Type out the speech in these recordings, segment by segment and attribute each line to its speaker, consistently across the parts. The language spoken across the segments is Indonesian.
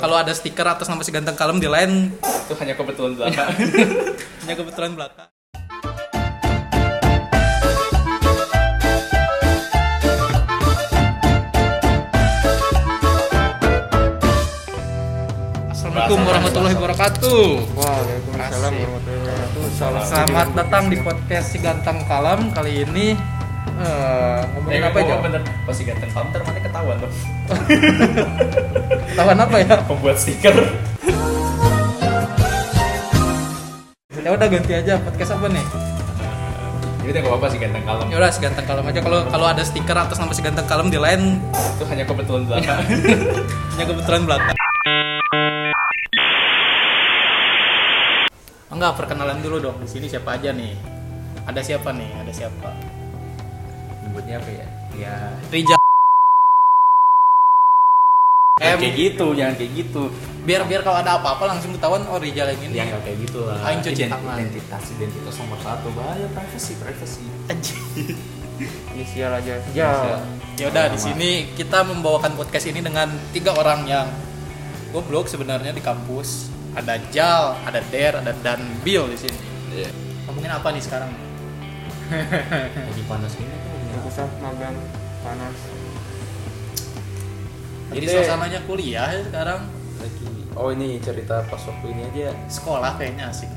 Speaker 1: Kalau ada stiker atas nama si ganteng kalem di lain
Speaker 2: itu hanya kebetulan belaka
Speaker 1: hanya kebetulan belaka. Assalamualaikum warahmatullahi wabarakatuh.
Speaker 3: Waalaikumsalam warahmatullahi wabarakatuh. Salam.
Speaker 1: Selamat datang di podcast si ganteng kalem kali ini. eh,
Speaker 2: eh,
Speaker 1: ngomongin apa aja?
Speaker 2: bener pasti ganteng kamu ntar mana ketahuan tuh
Speaker 1: Tahuan apa ya?
Speaker 2: pembuat stiker
Speaker 1: Ya udah ganti aja podcast apa nih?
Speaker 2: jadi udah gak apa-apa sih ganteng kalem
Speaker 1: Ya udah si ganteng kalem aja kalau kalau ada stiker atas nama si ganteng kalem di lain
Speaker 2: itu hanya kebetulan belaka
Speaker 1: Ya kebetulan belakang. Enggak, perkenalan dulu dong. Di sini siapa aja nih? Ada siapa nih? Ada siapa?
Speaker 2: nyebutnya apa ya ya
Speaker 1: Rijal.
Speaker 2: Jangan
Speaker 1: M.
Speaker 2: kayak gitu jangan kayak gitu
Speaker 1: Biar biar kalau ada apa-apa langsung ketahuan oh Rijal yang ini.
Speaker 2: ya nggak kayak gitu lah
Speaker 1: Aing cuci
Speaker 2: Ident-
Speaker 1: tangan.
Speaker 2: identitas identitas nomor satu bahaya privacy privacy
Speaker 3: Inisial aja. Ya.
Speaker 1: Ya udah di sini kita membawakan podcast ini dengan tiga orang yang goblok sebenarnya di kampus. Ada Jal, ada Der, ada Danbil di sini.
Speaker 2: Iya.
Speaker 1: Ngomongin apa nih sekarang?
Speaker 2: lagi panas gini tuh ya.
Speaker 3: Susah magang panas.
Speaker 1: Jadi
Speaker 4: Ide.
Speaker 1: suasananya kuliah ya sekarang.
Speaker 4: lagi oh ini cerita pas waktu ini aja
Speaker 1: Sekolah kayaknya asik.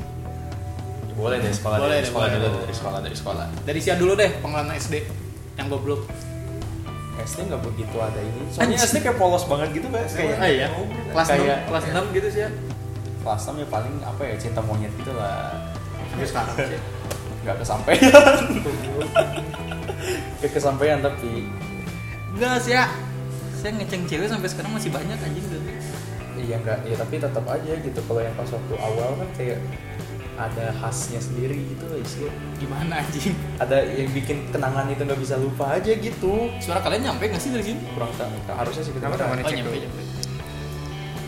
Speaker 2: boleh deh sekolah
Speaker 1: Boleh
Speaker 2: dari
Speaker 1: deh,
Speaker 2: sekolah
Speaker 1: boleh.
Speaker 2: dulu dari sekolah dari sekolah
Speaker 1: Dari siapa dulu deh pengalaman SD yang goblok.
Speaker 4: SD nggak begitu ada ini soalnya
Speaker 1: Anjing.
Speaker 4: SD kayak polos banget gitu kayak kayak
Speaker 1: Ah, iya. Kelas
Speaker 4: kayak
Speaker 1: 6, kelas 6 gitu sih ya.
Speaker 2: kelas enam ya paling apa ya cinta monyet gitu lah
Speaker 1: Sampai sekarang sih.
Speaker 2: nggak kesampaian
Speaker 4: kayak kesampaian tapi
Speaker 1: Enggak sih ya. Saya ngeceng cewek sampai sekarang masih banyak anjing gitu.
Speaker 4: iya nggak ya tapi tetap aja gitu kalau yang pas waktu awal kan kayak ada khasnya sendiri gitu lah isinya.
Speaker 1: Gimana anjing?
Speaker 4: ada yang bikin kenangan itu nggak bisa lupa aja gitu
Speaker 1: Suara kalian nyampe nggak sih dari sini?
Speaker 4: kurang tahu harusnya sih kita
Speaker 3: Kenapa tangannya
Speaker 1: Oh,
Speaker 3: cek
Speaker 1: nyampe,
Speaker 3: dulu?
Speaker 1: nyampe.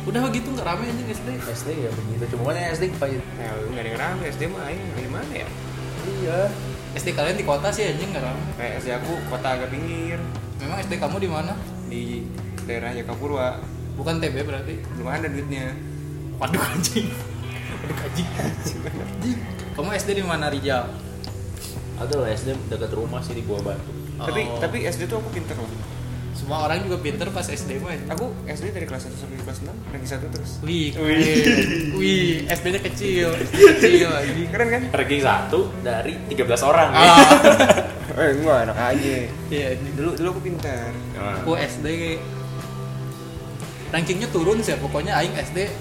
Speaker 1: Udah begitu nggak rame anjing SD.
Speaker 4: SD ya begitu cuma kan SD kayak
Speaker 3: Ya, lu nggak ada yang rame SD mah aing dari mana ya?
Speaker 4: iya
Speaker 1: SD kalian di kota sih anjing nggak rame.
Speaker 3: Kayak SD aku kota agak pinggir
Speaker 1: Memang SD kamu di mana?
Speaker 3: di daerah Jakapurwa.
Speaker 1: Bukan TB berarti.
Speaker 3: Belum ada duitnya.
Speaker 1: Waduh anjing. Waduh anjing. Anjing. Kamu SD di mana Rijal?
Speaker 4: ada lah SD dekat rumah sih di Gua Batu
Speaker 3: Tapi
Speaker 1: Oh.
Speaker 3: tapi SD tuh aku pinter loh.
Speaker 1: semua orang juga pinter pas SD mah. anjing.
Speaker 3: Aku SD dari kelas 1 sampai kelas 6 ranking 1 terus.
Speaker 1: Wih,
Speaker 3: Wih.
Speaker 1: keren. wih, SD-nya kecil, kecil anjing.
Speaker 3: Keren kan?
Speaker 2: ranking satu dari 13 orang
Speaker 1: Ah,
Speaker 3: Eh, enggak enak aja.
Speaker 1: iya anjing.
Speaker 3: Dulu dulu aku pintar.
Speaker 2: Nah.
Speaker 3: Ah.
Speaker 1: aku SD rankingnya turun sih pokoknya aing SD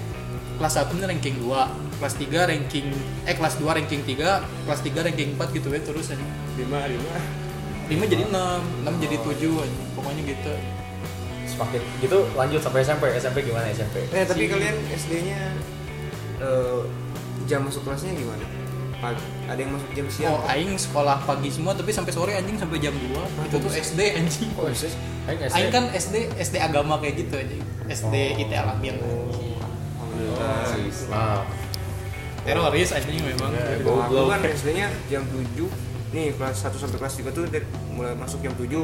Speaker 1: kelas 1 nih ranking 2 kelas 3 ranking eh kelas 2 ranking 3 kelas 3 ranking 4 gitu ya terus aja
Speaker 3: 5 5.
Speaker 1: 5 jadi 6 6 jadi 7 aja. pokoknya gitu
Speaker 4: semakin gitu lanjut sampai SMP SMP gimana SMP
Speaker 3: Eh, tapi kalian SD-nya eh, jam masuk kelasnya gimana? Pagi. Ada yang masuk jam siang?
Speaker 1: oh aing sekolah pagi semua tapi sampai sore anjing sampai jam 2 itu tuh SD anjing
Speaker 4: Oh, SD? Aing SD.
Speaker 1: aing kan SD SD agama kayak gitu anjing SD IT alamiah
Speaker 3: Alhamdulillah.
Speaker 4: Nah,
Speaker 1: teroris anjing memang
Speaker 4: Ya,
Speaker 3: Kalau aku
Speaker 4: Goblok.
Speaker 3: kan SD-nya jam 7. Nih, kelas 1 sampai kelas 3 tuh dari- mulai masuk jam 7.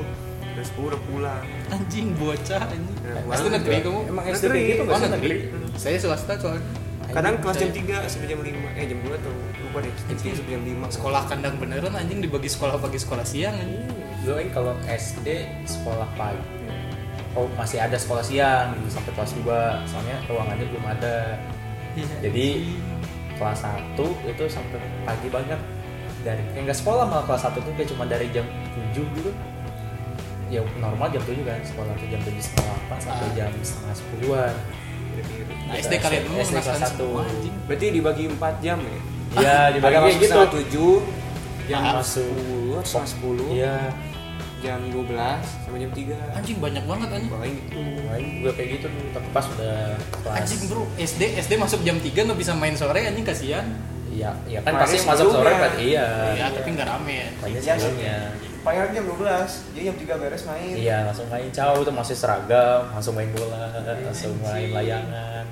Speaker 3: Terus 10 udah pulang.
Speaker 1: anjing bocah anjing
Speaker 3: Udah pulang.
Speaker 1: SD negeri kamu
Speaker 4: Iya, emang
Speaker 3: Negeri.
Speaker 4: SD kayak gitu nggak sih
Speaker 1: Oh,
Speaker 4: negeri?
Speaker 1: saya swasta soalnya
Speaker 3: Kadang kelas jam 3 sampai jam 5. Eh, jam 2 tuh. Lupa deh. Jam 3 sampai jam 5.
Speaker 1: sekolah kandang beneran anjing dibagi sekolah pagi sekolah siang anjing.
Speaker 4: Dulu Aing kalau SD sekolah pagi. Oh, masih ada sekolah siang dulu sampai kelas 2. Soalnya ruangannya belum ada. Jadi kelas 1 itu sampai pagi banget. Dari yang enggak sekolah malah kelas 1 tuh kayak cuma dari jam 7 gitu. Ya normal jam 7 kan sekolah tuh jam 7 setengah 8 sampai
Speaker 1: Ah.
Speaker 4: jam setengah 10-an.
Speaker 1: nah, SD kalian dulu
Speaker 4: SD kelas
Speaker 1: mengenaskan
Speaker 4: satu.
Speaker 1: semua anjing
Speaker 3: Berarti dibagi 4 jam ya?
Speaker 4: Iya,
Speaker 3: Agak
Speaker 4: dibagi
Speaker 3: masuk
Speaker 4: gitu.
Speaker 3: setengah 7, jam
Speaker 1: Maaf.
Speaker 3: 10, setengah 10,
Speaker 4: Iya,
Speaker 3: jam 12, sampai jam 3.
Speaker 1: anjing banyak banget anjing
Speaker 3: Paling
Speaker 4: Aing juga kayak gitu dulu, tapi pas udah kelas
Speaker 1: anjing bro SD SD masuk jam 3 nggak bisa main sore anjing kasihan
Speaker 4: Iya, iya kan
Speaker 3: Main
Speaker 4: pasti masuk
Speaker 3: sebelumnya.
Speaker 4: sore kan iya.
Speaker 1: ya tapi nggak rame
Speaker 4: Mainnya
Speaker 3: Iya.
Speaker 4: sebelumnya.
Speaker 3: Paling jam 12, jadi jam 3 beres main.
Speaker 4: Iya, langsung main jauh tuh masih seragam, langsung main bola,
Speaker 3: Iya,
Speaker 4: langsung main layangan.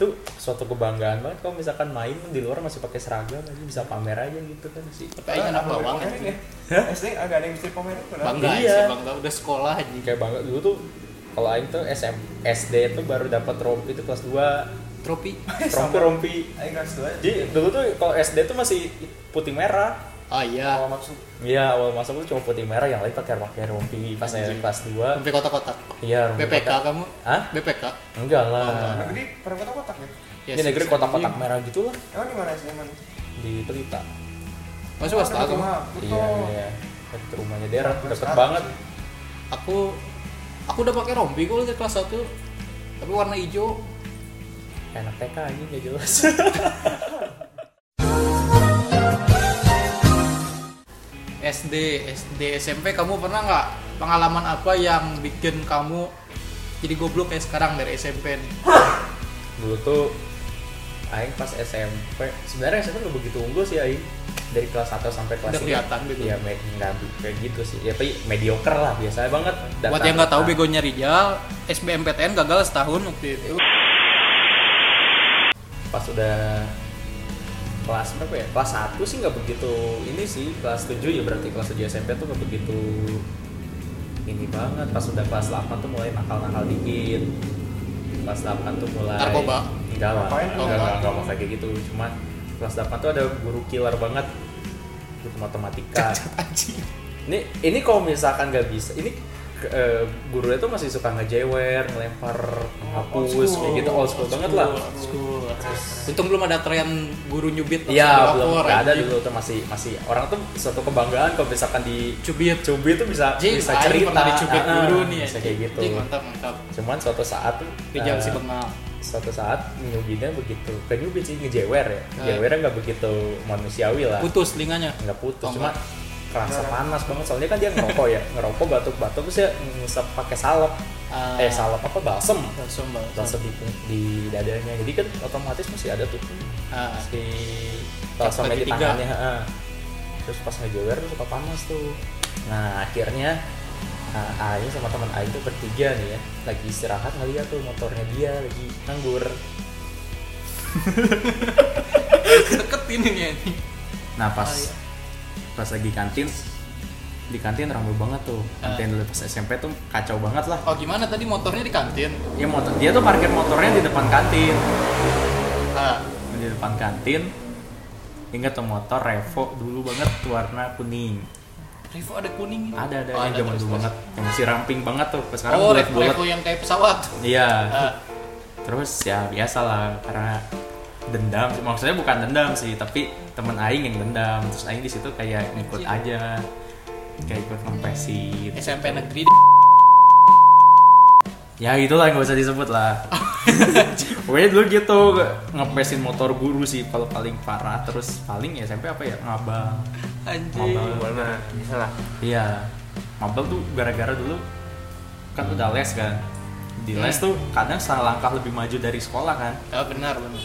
Speaker 4: Itu suatu kebanggaan banget kalau misalkan main di luar masih pakai seragam aja bisa pamer aja gitu kan sih.
Speaker 1: tapi aing anak bawang
Speaker 2: ya.
Speaker 1: anjing
Speaker 3: SD agak ada yang misteri pamer.
Speaker 1: bangga
Speaker 4: Iya.
Speaker 1: sih bangga udah sekolah anjing
Speaker 4: Kayak banget dulu tuh kalau aing tuh SM, SD itu baru dapat rompi itu kelas 2
Speaker 1: tropi
Speaker 4: rompi rompi
Speaker 2: Ayo kelas dua.
Speaker 4: jadi dulu tuh kalau SD tuh masih putih merah
Speaker 1: oh iya
Speaker 2: Kalau maksud
Speaker 4: Iya awal masuk tuh cuma putih merah yang lain pakai pakai rompi pas saya
Speaker 1: Anjing.
Speaker 4: kelas 2
Speaker 1: sampai kotak-kotak
Speaker 4: Iya rompi
Speaker 1: BPK
Speaker 4: kotak.
Speaker 1: kamu
Speaker 4: Hah?
Speaker 1: BPK
Speaker 4: Enggak lah
Speaker 1: Oh,
Speaker 2: negeri perkotak kotak ya.
Speaker 1: Ya,
Speaker 4: Ini negeri
Speaker 1: sih,
Speaker 4: kotak-kotak
Speaker 1: anjing.
Speaker 4: merah gitu lah
Speaker 2: Emang di mana sih emang?
Speaker 4: di Pelita
Speaker 1: masuk swasta kamu
Speaker 4: Iya iya Deket rumahnya daerah deket banget
Speaker 1: aku aku udah pakai rompi kok dari kelas 1 tapi warna hijau
Speaker 4: Enak TK aja gak jelas
Speaker 1: SD SD SMP kamu pernah nggak pengalaman apa yang bikin kamu jadi goblok kayak sekarang dari SMP nih
Speaker 4: Dulu tuh Aing pas SMP sebenarnya SMP udah begitu unggul sih Aing dari kelas 1 sampai kelas
Speaker 1: Udah kelihatan gitu.
Speaker 4: Iya me- nggak kayak gitu sih ya tapi mediocre lah biasanya banget
Speaker 1: buat yang nggak tahu begonya Rijal SBMPTN gagal setahun waktu itu
Speaker 4: pas udah kelas berapa ya? Kelas 1 sih nggak begitu ini sih kelas 7 ya berarti kelas 7 SMP tuh nggak begitu ini banget pas udah kelas 8 tuh mulai nakal-nakal dikit kelas 8 tuh mulai
Speaker 1: Narkoba?
Speaker 4: enggak lah
Speaker 2: Ngapain
Speaker 4: enggak
Speaker 2: tuh?
Speaker 4: enggak enggak mau kayak gitu cuma kelas 8 tuh ada guru killer banget guru matematika
Speaker 1: anjing
Speaker 4: ini ini kalau misalkan nggak bisa ini ke- eh, gurunya tuh masih suka ngejewer ngelempar
Speaker 2: Oh, old
Speaker 4: hapus
Speaker 2: school.
Speaker 4: kayak gitu old school banget lah
Speaker 1: School. untung belum ada tren guru nyubit langsung
Speaker 4: Iya,
Speaker 1: dilapor,
Speaker 4: belum nggak ada
Speaker 1: anjing.
Speaker 4: dulu tuh masih masih orang tuh suatu kebanggaan kalau misalkan di
Speaker 1: cubit
Speaker 4: cubit tuh bisa
Speaker 1: Jing,
Speaker 4: bisa
Speaker 1: Aing
Speaker 4: cerita
Speaker 1: pernah dicubit
Speaker 4: Ah,
Speaker 1: dulu nih
Speaker 4: bisa
Speaker 1: anjing.
Speaker 4: kayak gitu.
Speaker 1: Jing, mantap mantap
Speaker 4: Cuman suatu saat tuh
Speaker 1: Rijal
Speaker 4: eh,
Speaker 1: si bengal
Speaker 4: suatu saat nyubitnya begitu ke nyubit sih ngejewer ya.
Speaker 1: Ah.
Speaker 4: Ngejewernya nggak begitu manusiawi lah.
Speaker 1: putus linganya
Speaker 4: Nggak putus,
Speaker 1: Oh,
Speaker 4: cuma
Speaker 1: nggak.
Speaker 4: kerasa panas banget soalnya kan dia ngerokok ya ngerokok batuk-batuk terus ya ngusap pakai salep
Speaker 1: Ah.
Speaker 4: eh salep apa balsem
Speaker 1: langsung banget
Speaker 4: balsem di, di dadanya jadi kan otomatis masih ada tuh
Speaker 1: Ah,
Speaker 4: si
Speaker 1: Kaki
Speaker 4: balsamnya di
Speaker 1: tiga.
Speaker 4: tangannya heeh. terus pas ngejewer tuh suka panas tuh nah akhirnya ah, Aing sama teman Aing tuh bertiga nih ya lagi istirahat ngeliat tuh motornya dia lagi nganggur
Speaker 1: deket ini nih anjing.
Speaker 4: nah pas
Speaker 1: Oh, iya.
Speaker 4: pas lagi kantin di kantin ramai banget tuh
Speaker 1: Ah.
Speaker 4: kantin dulu pas SMP tuh kacau banget lah
Speaker 1: oh gimana tadi motornya di kantin
Speaker 4: ya motor dia tuh parkir motornya di depan kantin
Speaker 1: ah
Speaker 4: di depan kantin ingat tuh motor Revo dulu banget warna kuning
Speaker 1: Revo ada kuning
Speaker 4: ada ada
Speaker 1: Oh,
Speaker 4: yang zaman
Speaker 1: terus,
Speaker 4: dulu
Speaker 1: terus.
Speaker 4: banget yang masih ramping banget tuh pas sekarang
Speaker 1: oh
Speaker 4: bulat
Speaker 1: Revo,
Speaker 4: bulat
Speaker 1: Revo yang kayak pesawat
Speaker 4: iya
Speaker 1: Ah,
Speaker 4: terus ya biasa lah karena dendam maksudnya bukan dendam sih tapi temen aing yang dendam terus aing di situ kayak ngikut
Speaker 1: Iya.
Speaker 4: aja kayak ikut ngempesin
Speaker 1: SMP negeri
Speaker 4: ya itulah nggak usah disebut lah pokoknya dulu gitu ngempesin motor guru sih kalau paling parah terus paling ya SMP apa ya ngabang
Speaker 1: anjing
Speaker 4: ngabang
Speaker 5: Warna bisa lah.
Speaker 4: Iya. Mabel tuh gara-gara dulu kan udah les kan. Di les tuh kadang salah langkah lebih maju dari sekolah kan.
Speaker 1: ah benar benar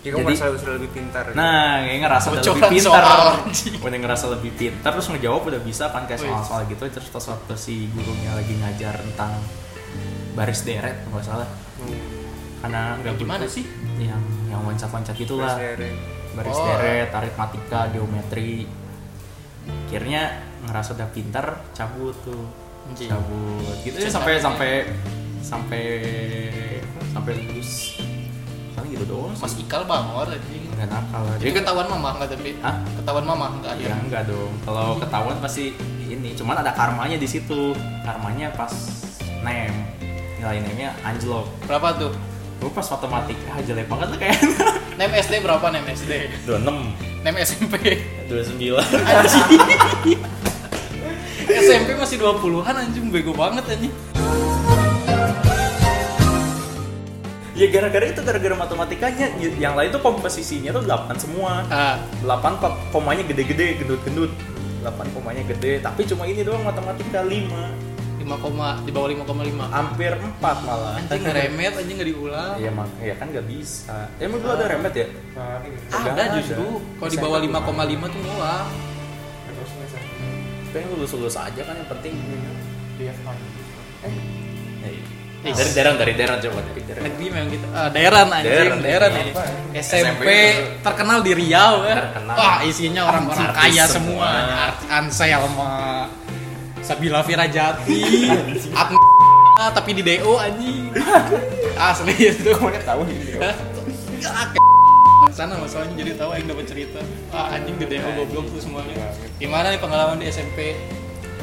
Speaker 5: Jadi kamu
Speaker 4: Jadi-
Speaker 5: merasa sudah lebih pintar. gitu.
Speaker 4: Nah, kayak ngerasa udah lebih
Speaker 1: Bocoran
Speaker 4: pintar.
Speaker 1: soal, anjing.
Speaker 4: Udah ngerasa lebih pintar terus ngejawab udah bisa kan kayak
Speaker 1: Wih.
Speaker 4: soal-soal gitu terus pas waktu si gurunya lagi ngajar tentang baris deret kalau nggak salah
Speaker 5: Hmm.
Speaker 4: karena nggak
Speaker 1: Gimana
Speaker 4: butuh
Speaker 1: sih?
Speaker 4: yang yang loncat-loncat itulah
Speaker 3: ya,
Speaker 5: Terus akhirnya,
Speaker 4: baris
Speaker 1: Oh.
Speaker 4: deret aritmatika geometri akhirnya ngerasa udah pintar cabut tuh
Speaker 1: Anjing.
Speaker 4: cabut gitu
Speaker 1: Cabut.
Speaker 4: ya sampai sampai sampai sampai lulus paling gitu doang
Speaker 1: Mas
Speaker 4: sih
Speaker 1: Ikal bangor anjing
Speaker 4: nggak nakal lah
Speaker 1: jadi
Speaker 4: dia
Speaker 1: ketahuan mama nggak tapi
Speaker 4: Hah?
Speaker 1: ketahuan mama nggak
Speaker 4: ya
Speaker 1: ya
Speaker 4: enggak dong kalau ketahuan pasti ini cuman ada karmanya di situ karmanya pas nem nilai nemnya anjlok
Speaker 1: berapa tuh
Speaker 4: gue pas matematika ah, jelek banget lah kayak
Speaker 1: nem SD berapa nem SD
Speaker 4: dua enam
Speaker 1: nem SMP
Speaker 4: dua sembilan
Speaker 1: SMP masih 20-an anjing bego banget anjing
Speaker 4: Ya gara-gara itu gara-gara matematikanya Y- yang lain tuh komposisinya tuh 8 semua.
Speaker 1: ah
Speaker 4: 8 ko- komanya gede-gede, gendut-gendut. 8 komanya gede, tapi cuma ini doang matematika 5.
Speaker 1: 5, koma- di bawah 5,5
Speaker 4: Hampir 4 malah.
Speaker 1: anjing remet anjing nggak diulang
Speaker 4: Iya, mak ya kan nggak bisa. Emang dulu ada remet ya?
Speaker 2: Nah, ini
Speaker 1: ada
Speaker 4: Nggak ada.
Speaker 1: justru kalau di bawah
Speaker 4: SMP
Speaker 1: 5,5 tuh ngulang
Speaker 2: terus nih saya.
Speaker 4: Pengen lulus-lulus aja kan yang penting.
Speaker 2: Dia kan. Eh,
Speaker 4: Nah, iya. dari Deran, dari Deran coba dari Deran.
Speaker 1: negeri memang gitu ah, daerah anjing
Speaker 4: Daerah,
Speaker 1: daerah ini
Speaker 2: apa?
Speaker 1: SMP
Speaker 4: SMP.
Speaker 1: terkenal di Riau ya
Speaker 4: Terkenal.
Speaker 1: wah isinya orang-orang
Speaker 4: Artis
Speaker 1: kaya semua
Speaker 4: semua.
Speaker 1: Ar- Ansel sama Sabila Virajati Atma ah tapi di DO anjing asli itu
Speaker 4: Komennya tahu ini.
Speaker 1: Hah? Ah, ke- sana masalahnya jadi tahu yang dapat cerita ah anjing di DO goblok tuh semuanya
Speaker 4: Iya, gitu.
Speaker 1: gimana nih pengalaman di SMP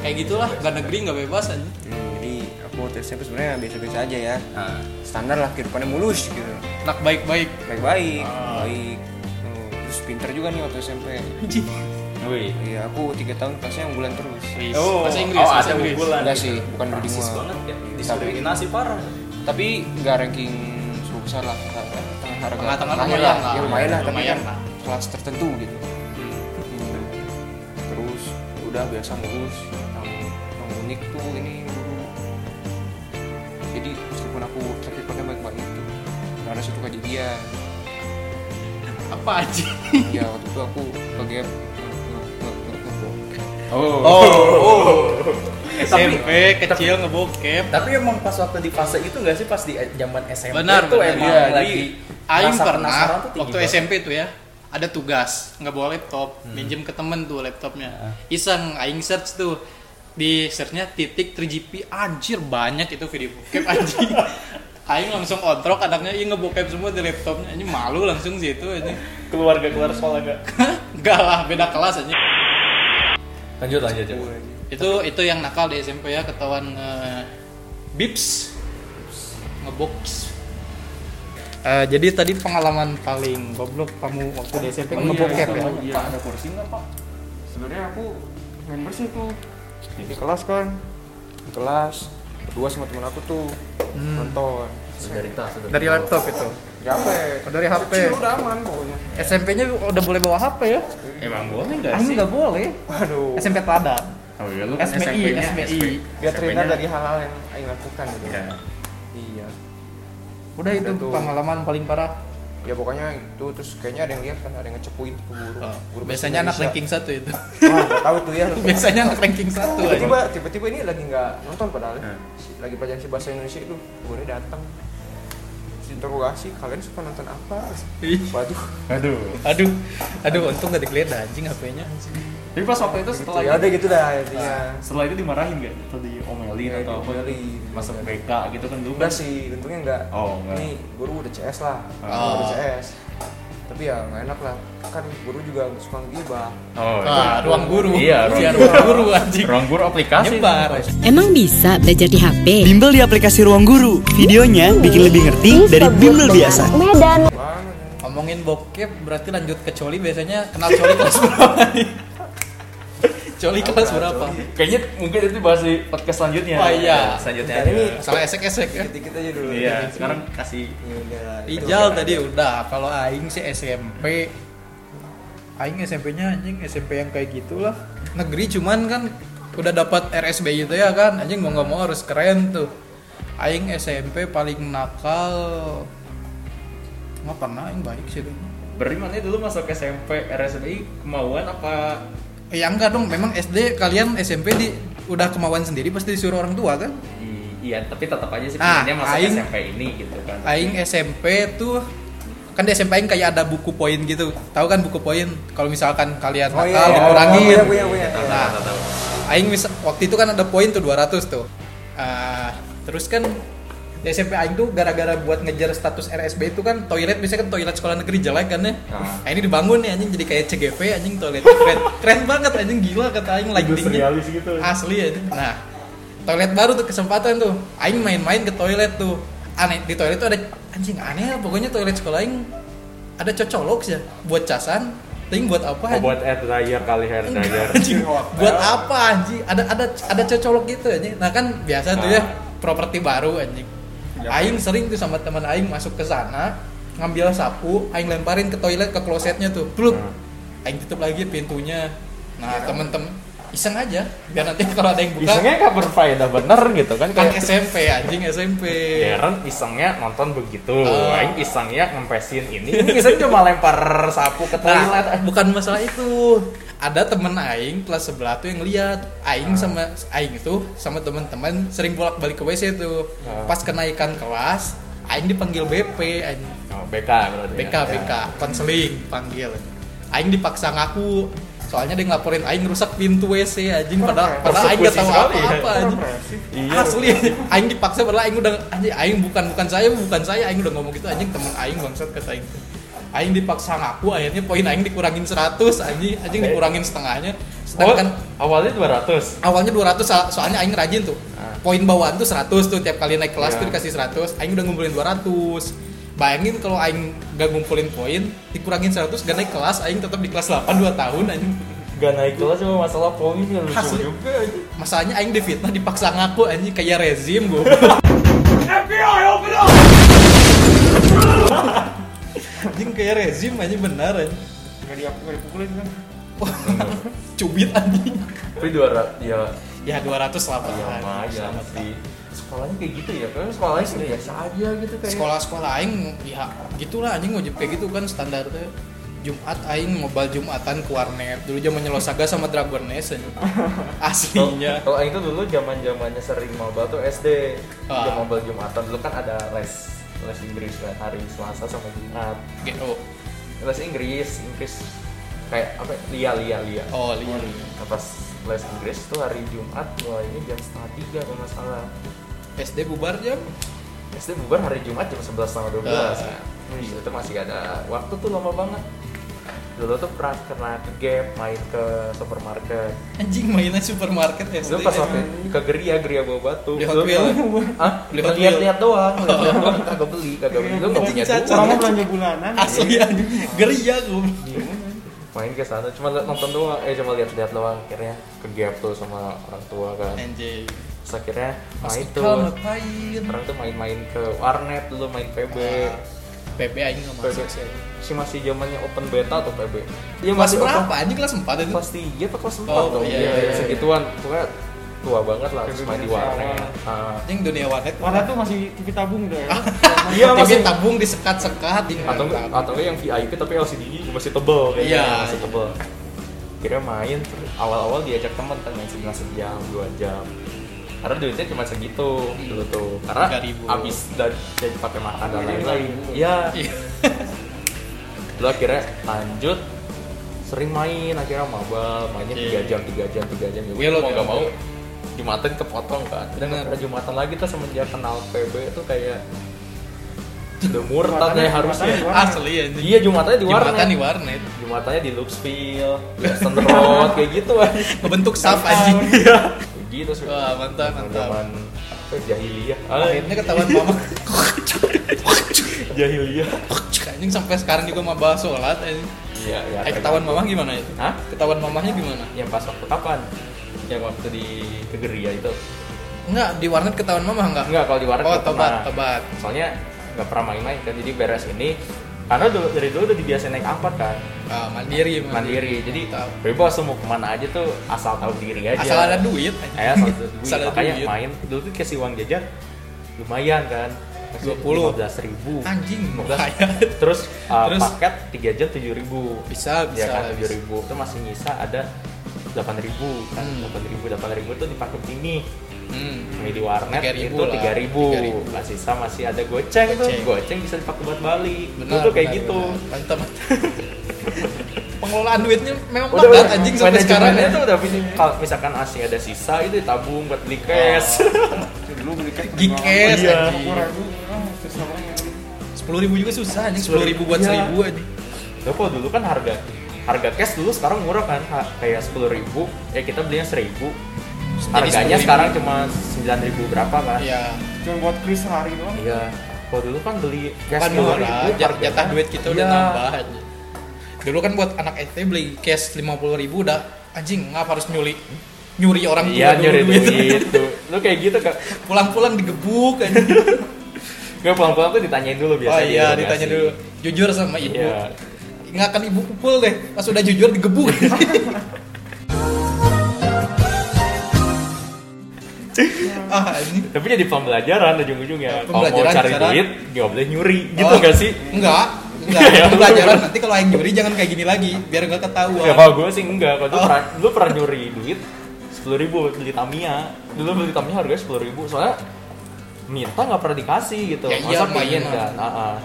Speaker 1: kayak gitulah nggak negeri nggak bebas anjing
Speaker 3: Hmm, jadi aku waktu SMP sebenarnya biasa-biasa aja ya.
Speaker 4: Nah,
Speaker 3: Standar lah kehidupannya mulus gitu.
Speaker 1: nak baik baik
Speaker 3: Baik-baik,
Speaker 4: Ah.
Speaker 3: baik. Hmm, Terus pinter juga nih waktu SMP.
Speaker 4: wih.
Speaker 3: Iya, aku tiga tahun kelasnya unggulan terus.
Speaker 1: oh, bahasa Inggris
Speaker 4: oh,
Speaker 1: bahasa
Speaker 4: ada
Speaker 1: Inggris
Speaker 4: unggulan.
Speaker 3: Enggak sih, bukan di
Speaker 6: Rasis
Speaker 3: gua.
Speaker 6: banget ya.
Speaker 4: Diskriminasi parah.
Speaker 3: Tapi nggak ranking sepuluh besar lah. Tengah harga.
Speaker 1: Tengah-tengah
Speaker 3: Lumayan
Speaker 1: lumayan lah.
Speaker 3: Ya, lumayan lah, tapi
Speaker 1: Lumayan
Speaker 3: kan
Speaker 1: lah.
Speaker 3: kelas tertentu gitu. Hmm. Terus udah biasa ngurus yang, yang unik tuh ini dulu. Jadi meskipun aku sakit pakai baik-baik itu, karena situ kejadian.
Speaker 1: apa anjing
Speaker 3: ya waktu itu aku ke gap
Speaker 4: Oh.
Speaker 1: SMP kecil ngebokep
Speaker 6: Tapi emang pas waktu di fase itu nggak sih pas di eh, zaman SMP
Speaker 1: benar
Speaker 6: tuh
Speaker 1: benar
Speaker 6: emang
Speaker 1: Iya,
Speaker 6: lagi
Speaker 1: jadi, Aing
Speaker 6: rasa
Speaker 1: pernah
Speaker 6: penasaran tuh tinggi
Speaker 1: waktu
Speaker 6: banget.
Speaker 1: SMP tuh ya ada tugas nggak bawa laptop
Speaker 6: Hmm.
Speaker 1: minjem ke temen tuh
Speaker 6: Ah.
Speaker 1: laptopnya iseng Aing search tuh di searchnya titik 3GP anjir banyak itu video bokep anjing Aing langsung ontrok anaknya iya ngebokep semua di laptopnya ini malu langsung sih itu aja
Speaker 6: keluarga keluar sekolah gak?
Speaker 1: enggak lah beda kelas aja
Speaker 6: Lanjut lanjut coba.
Speaker 1: itu itu yang nakal di SMP ya ketahuan eh, bips ngebox Eh, jadi tadi pengalaman paling goblok kamu waktu di SMP ngebokep ya
Speaker 3: Iya.
Speaker 4: Pak, ada kursi nggak Pak?
Speaker 3: sebenarnya aku main bersih tuh di kelas kan di kelas berdua sama temen aku tuh
Speaker 1: Hmm.
Speaker 3: nonton ya?
Speaker 6: Solidaritas.
Speaker 1: dari laptop itu Oh,
Speaker 3: di HP
Speaker 1: dari HP
Speaker 3: kecil udah aman pokoknya
Speaker 1: SMP-nya udah boleh bawa HP ya Ah,
Speaker 4: Emang boleh nggak
Speaker 1: Ini nggak boleh
Speaker 3: waduh
Speaker 1: SMP Tada
Speaker 4: Oh iya, lu kan
Speaker 1: SMI
Speaker 4: SMP-nya.
Speaker 1: SMI
Speaker 3: dia
Speaker 4: SMP-nya.
Speaker 3: terhindar dari hal-hal yang Aing lakukan gitu
Speaker 1: Iya.
Speaker 4: Ya.
Speaker 3: iya
Speaker 1: udah itu
Speaker 3: Tentu.
Speaker 1: pengalaman paling parah
Speaker 3: ya pokoknya itu terus kayaknya ada yang lihat kan ada yang ngecepuin tuh guru guru bahasa
Speaker 1: Oh. biasanya anak
Speaker 3: Indonesia.
Speaker 1: ranking satu itu
Speaker 3: wah nggak tahu tuh ya
Speaker 1: biasanya anak ranking satu aja.
Speaker 3: tiba-tiba tiba-tiba ini lagi nggak nonton padahal
Speaker 4: Hmm.
Speaker 3: Si- lagi pelajaran si bahasa Indonesia itu gue datang Terus interogasi kalian suka nonton apa
Speaker 1: Ih.
Speaker 3: waduh
Speaker 4: Aduh.
Speaker 1: aduh aduh untung nggak digeledah anjing HP-nya
Speaker 4: Tapi pas waktu itu
Speaker 3: gitu
Speaker 4: setelah
Speaker 1: Iya,
Speaker 3: ya udah
Speaker 4: itu,
Speaker 3: gitu dah intinya
Speaker 4: setelah itu dimarahin nggak? Atau diomelin
Speaker 1: Iya,
Speaker 3: Ya,
Speaker 4: atau apa?
Speaker 3: diomelin.
Speaker 4: Masuk BK gitu kan dulu.
Speaker 3: udah sih untungnya enggak
Speaker 4: Oh, enggak.
Speaker 3: ini guru udah CS lah
Speaker 1: Oh.
Speaker 3: guru udah CS tapi ya nggak enak lah kan guru juga suka ngibah
Speaker 4: Oh.
Speaker 1: Ah, ruang guru.
Speaker 4: Iya, ruang
Speaker 1: Iya,
Speaker 4: guru.
Speaker 1: ruang guru anjing.
Speaker 4: Ruang guru aplikasi.
Speaker 1: Nyebar.
Speaker 7: Emang bisa belajar di HP?
Speaker 8: Bimbel di aplikasi Ruang Guru. Videonya bikin lebih ngerti dari bimbel biasa.
Speaker 9: Medan.
Speaker 1: Ngomongin bokep berarti lanjut ke coli biasanya kenal coli kelas berapa? nih? coli kelas berapa?
Speaker 4: Kayaknya mungkin itu bahas di podcast selanjutnya.
Speaker 1: Oh, iya.
Speaker 4: Selanjutnya.
Speaker 3: Bentar, ini
Speaker 4: aja.
Speaker 1: Salah esek-esek ya.
Speaker 3: dikit aja dulu
Speaker 4: Iya, sekarang kasih
Speaker 3: Ya udah lah, itu.
Speaker 1: Ijal tadi udah, kalau aing sih SMP. Aing SMP-nya anjing SMP yang kayak gitulah. Negeri cuman kan udah dapat RSB itu ya kan. Anjing mau nggak mau harus keren tuh. Aing SMP paling nakal. Nggak pernah aing baik sih. dulu.
Speaker 4: Berimannya dulu masuk SMP RSBI kemauan apa
Speaker 1: Ya enggak dong, memang SD kalian SMP di udah kemauan sendiri pasti disuruh orang tua kan?
Speaker 4: I- iya tapi tetap aja sih
Speaker 1: Ah,
Speaker 4: pengennya masuk
Speaker 1: aing-
Speaker 4: SMP ini gitu kan
Speaker 1: Aing SMP tuh kan di SMP aing kayak ada buku poin gitu. Tahu kan buku poin? Kalau misalkan kalian
Speaker 3: oh
Speaker 1: nakal
Speaker 3: iya iya.
Speaker 1: dikurangin.
Speaker 3: Oh, iya, iya, iya.
Speaker 1: Nah, aing mis- waktu itu kan ada poin tuh 200 tuh. Ah, terus kan di SMP aing tuh gara-gara buat ngejar status RSB itu kan toilet misalnya kan toilet sekolah negeri jelek kan ya.
Speaker 4: Ah.
Speaker 1: Ah, ini dibangun nih anjing jadi kayak CGV anjing toilet keren. keren banget anjing gila kata aing lightingnya.
Speaker 4: gitu
Speaker 1: Asli anjing. Nah, toilet baru tuh kesempatan tuh. Aing main-main ke toilet tuh. Aneh di toilet tuh ada anjing aneh lah, pokoknya toilet sekolah aing ada cocolok ya buat casan. Ting buat apa? anjing?
Speaker 6: Buat air dryer kali hair dryer.
Speaker 1: Anjing, buat apa anjing? Ada ada ada cocolok gitu anjing. Nah kan biasa tuh ya properti baru anjing. Aing sering tuh sama teman aing masuk ke sana, ngambil sapu, aing lemparin ke toilet ke klosetnya tuh. Pluk. Aing tutup lagi pintunya. Nah, temen-temen iseng aja biar nanti kalau ada yang buka
Speaker 6: Isengnya gak berfaedah bener gitu kan
Speaker 1: kan
Speaker 6: kayak
Speaker 1: SMP anjing SMP.
Speaker 4: Iya.
Speaker 6: Darren isengnya nonton begitu,
Speaker 1: Oh.
Speaker 6: Aing isengnya ngempesin ini, ini isengnya cuma lempar sapu ke toilet.
Speaker 1: Nah, bukan masalah itu. Ada temen Aing kelas sebelah tuh yang lihat Aing sama Aing itu sama teman-teman sering bolak-balik ke WC tuh. Pas kenaikan kelas, Aing dipanggil BP, Aing,
Speaker 6: Oh, BK berarti.
Speaker 1: BK,
Speaker 6: ya.
Speaker 1: BK, konseling panggil. Aing dipaksa ngaku soalnya dia ngelaporin aing rusak pintu WC anjing padahal
Speaker 6: Persekusi
Speaker 1: padahal aing gak tahu
Speaker 6: sekali,
Speaker 1: apa-apa
Speaker 6: ya.
Speaker 1: anjing
Speaker 6: Iya.
Speaker 1: asli aing dipaksa padahal aing udah anjing aing bukan bukan saya bukan saya aing udah ngomong gitu anjing teman aing bangsat kata aing aing dipaksa ngaku akhirnya poin aing dikurangin 100 anjing anjing
Speaker 6: Oke.
Speaker 1: dikurangin setengahnya
Speaker 6: Oh,
Speaker 1: sedangkan
Speaker 6: awalnya 200.
Speaker 1: awalnya 200 so- soalnya aing rajin tuh.
Speaker 6: Ah.
Speaker 1: Poin bawaan tuh 100 tuh tiap kali naik kelas
Speaker 6: Ya.
Speaker 1: tuh dikasih 100, aing udah ngumpulin 200. Bayangin kalau aing gak ngumpulin poin, dikurangin 100 gak naik kelas, aing tetap di kelas 8 2 tahun anjing.
Speaker 6: Gak naik kelas cuma masalah poin yang lucu
Speaker 1: Asli.
Speaker 6: juga. anjing.
Speaker 1: Masalahnya aing difitnah dipaksa ngaku anjing kayak rezim gua. anjing kayak rezim anjing benar anjing.
Speaker 6: Gak diap- gak dipukulin kan?
Speaker 1: Wah, Cubit anjing.
Speaker 6: Tapi 200 ya
Speaker 1: Ya 200 selamat.
Speaker 6: ya
Speaker 1: anjing,
Speaker 6: lumayan
Speaker 1: selamat.
Speaker 6: sih. Sekolahnya kayak gitu ya. Karena sekolahnya sih biasa aja gitu kayak.
Speaker 1: sekolah-sekolah aing ya gitulah anjing wajib kayak gitu kan standarnya Jumat aing mobile Jumatan ke warnet dulu zamannya Losaga sama Dragon Nest anjing.
Speaker 6: Kalau-
Speaker 1: aslinya
Speaker 6: Kalau yang itu dulu zaman zamannya sering maba tuh SD.
Speaker 1: Ah.
Speaker 6: Jam maba Jumatan dulu kan ada les les Inggris kan hari Selasa sama Jumat.
Speaker 1: gitu
Speaker 6: Les Inggris, Inggris kayak apa? ya? Lia lia lia.
Speaker 1: oh liar
Speaker 6: Nah, pas les Inggris tuh hari Jumat mulainya jam setengah tiga kalau nggak salah.
Speaker 1: SD bubar jam
Speaker 6: SD bubar hari Jumat jam 11 sama 12
Speaker 1: Ah.
Speaker 6: kan. Di situ masih ada waktu tuh lama banget. Dulu tuh pernah kena ke gap, main ke supermarket.
Speaker 1: anjing mainan supermarket SD
Speaker 6: Dulu pas waktu ke geria, geria bawa batu.
Speaker 1: Beli Hot
Speaker 6: Dulu
Speaker 1: Wheel.
Speaker 6: kan- Hah?
Speaker 1: Beli
Speaker 6: Beli
Speaker 1: Hot Wheel.
Speaker 6: lihat-lihat doang, lihat-lihat doang kagak beli, kagak beli. Lu nggak punya
Speaker 1: Cacat.
Speaker 6: duit.
Speaker 2: belanja bulanan
Speaker 6: Iya.
Speaker 1: asli anjing geria gua
Speaker 6: Main ke sana cuma liat- nonton doang, eh cuma lihat-lihat doang akhirnya ke gap tuh sama orang tua kan.
Speaker 1: anjing
Speaker 6: Terus akhirnya
Speaker 1: Mas
Speaker 6: main
Speaker 1: Kekal
Speaker 6: tuh.
Speaker 1: ngapain
Speaker 6: Orang tuh main-main ke warnet dulu main PB.
Speaker 1: PB aing nggak
Speaker 6: PB
Speaker 1: masuk sih
Speaker 6: si masih zamannya open beta atau PB? Iya
Speaker 1: kelas
Speaker 6: masih
Speaker 1: berapa
Speaker 6: open
Speaker 1: anjing kelas 4 itu
Speaker 6: kelas 3 atau kelas 4
Speaker 1: Oh,
Speaker 6: dong.
Speaker 1: iya,
Speaker 6: Iya,
Speaker 1: iya, iya.
Speaker 6: segituan. Pokoknya tua banget lah terus main di warnet. Ah.
Speaker 1: anjing dunia warnet
Speaker 2: warna tuh masih TV tabung udah ya
Speaker 6: Iya masih
Speaker 1: TV tabung disekat-sekat di
Speaker 6: atau enggak atau enggak yang VIP tapi LCD masih tebel kayaknya,
Speaker 1: Iya,
Speaker 6: masih
Speaker 1: iya.
Speaker 6: tebel. Kira main terus awal-awal diajak teman kan main sebentar sejam, dua jam. Karena duitnya cuma segitu
Speaker 1: Iya.
Speaker 6: dulu tuh. Karena
Speaker 1: 3.000.
Speaker 6: habis dan jadi pakai makan
Speaker 1: iya.
Speaker 6: dan lain-lain. Iya. Lalu akhirnya lanjut sering main akhirnya maba mainnya
Speaker 1: Iya.
Speaker 6: tiga jam tiga jam tiga jam
Speaker 1: Iya,
Speaker 6: ya
Speaker 1: lo
Speaker 6: mau
Speaker 1: tiap
Speaker 6: nggak mau
Speaker 1: jam.
Speaker 6: jumatan kepotong kan dan
Speaker 1: Bener.
Speaker 6: nggak pernah jumatan lagi tuh semenjak kenal PB itu kayak udah murtad ya harusnya
Speaker 1: asli anjing
Speaker 6: iya jumatannya di warnet
Speaker 1: Jembatan di warnet
Speaker 6: jumatannya di Looksville Western Road kayak gitu aja
Speaker 1: kebentuk saf anjing
Speaker 6: gitu sih
Speaker 1: Wah, mantap, mantap.
Speaker 6: Zaman apa, jahiliyah Ah,
Speaker 1: akhirnya Iya, ketahuan mama
Speaker 6: jahiliyah
Speaker 1: anjing sampai sekarang juga maba sholat anjing
Speaker 6: iya ya
Speaker 1: eh ketahuan mamah
Speaker 6: tergantung.
Speaker 1: gimana itu
Speaker 6: Hah?
Speaker 1: ketahuan mamahnya gimana
Speaker 6: yang pas waktu kapan yang waktu di kegeria itu
Speaker 1: enggak di warnet ketahuan mamah enggak
Speaker 6: Enggak, kalau di warnet
Speaker 1: oh
Speaker 6: nggak
Speaker 1: tobat
Speaker 6: pernah.
Speaker 1: tobat
Speaker 6: Soalnya nggak pernah main-main kan, jadi beres ini karena dulu- dari dulu udah dibiasain naik angkot kan,
Speaker 1: Ah, mandiri iya,
Speaker 6: mandiri. Jadi
Speaker 1: Mantap.
Speaker 6: bebas tuh mau kemana aja tuh asal tahu diri aja.
Speaker 1: asal ada duit anjing.
Speaker 6: Eh, asal ada duit.
Speaker 1: Asal ada
Speaker 6: Makanya
Speaker 1: duit.
Speaker 6: main dulu tuh kasih uang jajan lumayan kan.
Speaker 1: 20.
Speaker 6: belas ribu.
Speaker 1: anjing mau
Speaker 6: 15.
Speaker 1: kaya
Speaker 6: Terus, uh,
Speaker 1: Ah, Terus?
Speaker 6: paket 3 jam tujuh ribu.
Speaker 1: bisa bisa
Speaker 6: ya kan tujuh
Speaker 1: bisa.
Speaker 6: ribu itu masih nyisa ada delapan ribu kan
Speaker 1: Hmm.
Speaker 6: delapan ribu delapan ribu itu dipakai ini
Speaker 1: Hmm.
Speaker 6: Beli di warnet
Speaker 1: 3.000
Speaker 6: itu
Speaker 1: lah.
Speaker 6: tiga ribu
Speaker 1: 3.000.
Speaker 6: nah sisa masih ada goceng,
Speaker 1: Goceng.
Speaker 6: tuh goceng bisa dipakai buat balik itu
Speaker 1: benar
Speaker 6: tuh kayak
Speaker 1: benar,
Speaker 6: gitu
Speaker 1: benar. mantap pengelolaan duitnya memang
Speaker 6: Udah,
Speaker 1: padat anjing sampai sekarang
Speaker 6: manajemennya
Speaker 1: ya.
Speaker 6: tuh udah pilih kalau misalkan asli ada sisa itu ditabung buat beli cash
Speaker 1: Ah.
Speaker 2: dulu beli kayak
Speaker 1: Gikes
Speaker 6: Iya.
Speaker 1: anjing sepuluh ribu juga susah anjing sepuluh ribu buat
Speaker 6: Iya.
Speaker 1: seribu anjing
Speaker 6: Loh, kok dulu kan harga harga cash dulu sekarang murah kan ha- kayak sepuluh ribu ya kita belinya seribu harganya
Speaker 1: 10.000.
Speaker 6: sekarang cuma sembilan ribu berapa kan
Speaker 1: Iya,
Speaker 2: cuma buat kris sehari doang
Speaker 6: Iya. Kalau dulu kan beli cash
Speaker 1: kan
Speaker 6: 10.000,
Speaker 1: murah, jat-
Speaker 6: harganya-
Speaker 1: jatah duit kita udah
Speaker 6: Iya.
Speaker 1: tambah aja. Dulu kan buat anak SD beli cash 50 ribu udah anjing ngap harus nyuli nyuri orang tua
Speaker 6: Iya
Speaker 1: dulu
Speaker 6: nyuri
Speaker 1: duit.
Speaker 6: duit tuh. Lu kayak gitu kak.
Speaker 1: Pulang-pulang digebuk
Speaker 6: Iya,
Speaker 1: anjing.
Speaker 6: Gak pulang-pulang tuh ditanyain dulu biasa.
Speaker 1: oh iya, ditanya dulu. Jujur sama ibu.
Speaker 6: Iya.
Speaker 1: Nggak akan ibu pukul deh, pas udah jujur digebuk. ah, anjing.
Speaker 6: Tapi jadi pembelajaran ujung-ujungnya. Kalau mau
Speaker 1: Iya, Pembelajaran
Speaker 6: cari
Speaker 1: cara-
Speaker 6: duit, nggak boleh nyuri gitu
Speaker 1: Oh,
Speaker 6: gak sih?
Speaker 1: Enggak. Enggak,
Speaker 6: Ya,
Speaker 1: Itu pelajaran
Speaker 6: bener.
Speaker 1: nanti kalau yang nyuri jangan kayak gini lagi, biar nggak ketahuan.
Speaker 6: Ya kalau gue sih enggak. Kalau dulu
Speaker 1: Oh.
Speaker 6: pernah, lu pernah nyuri duit sepuluh ribu beli Tamiya. Dulu beli Tamiya harganya sepuluh ribu. Soalnya minta nggak pernah dikasih gitu.
Speaker 1: Ya iya,
Speaker 6: Masa pengen
Speaker 1: mainan.
Speaker 6: kan? Ah, ah.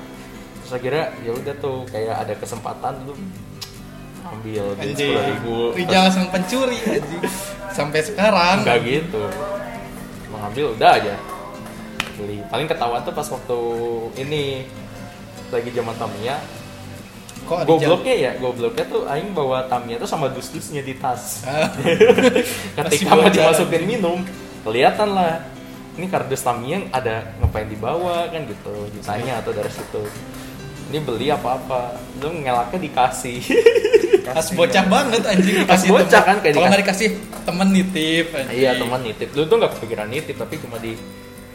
Speaker 6: Terus akhirnya ya udah tuh kayak ada kesempatan dulu ambil duit
Speaker 1: Anjing.
Speaker 6: sepuluh ribu
Speaker 1: Rijal sang pencuri anjing. Sampai sekarang.
Speaker 6: nggak gitu mengambil udah aja beli paling ketawa tuh pas waktu ini lagi zaman Tamiya
Speaker 1: Kok Rijal?
Speaker 6: gobloknya ya gobloknya tuh Aing bawa Tamiya tuh sama dus-dusnya di tas
Speaker 1: Ah. Masih
Speaker 6: ketika mau
Speaker 1: bocah.
Speaker 6: dimasukin minum kelihatan lah ini kardus Tamiya yang ada ngapain dibawa kan gitu ditanya atau dari situ ini beli apa-apa lu ngelaknya dikasih
Speaker 1: Pas bocah banget anjing
Speaker 6: Pas
Speaker 1: dikasih temen.
Speaker 6: bocah kan, kayak
Speaker 1: Kalau
Speaker 6: dikasih-
Speaker 1: nggak dikasih temen nitip anjing.
Speaker 6: Iya teman nitip, lu tuh nggak kepikiran nitip tapi cuma di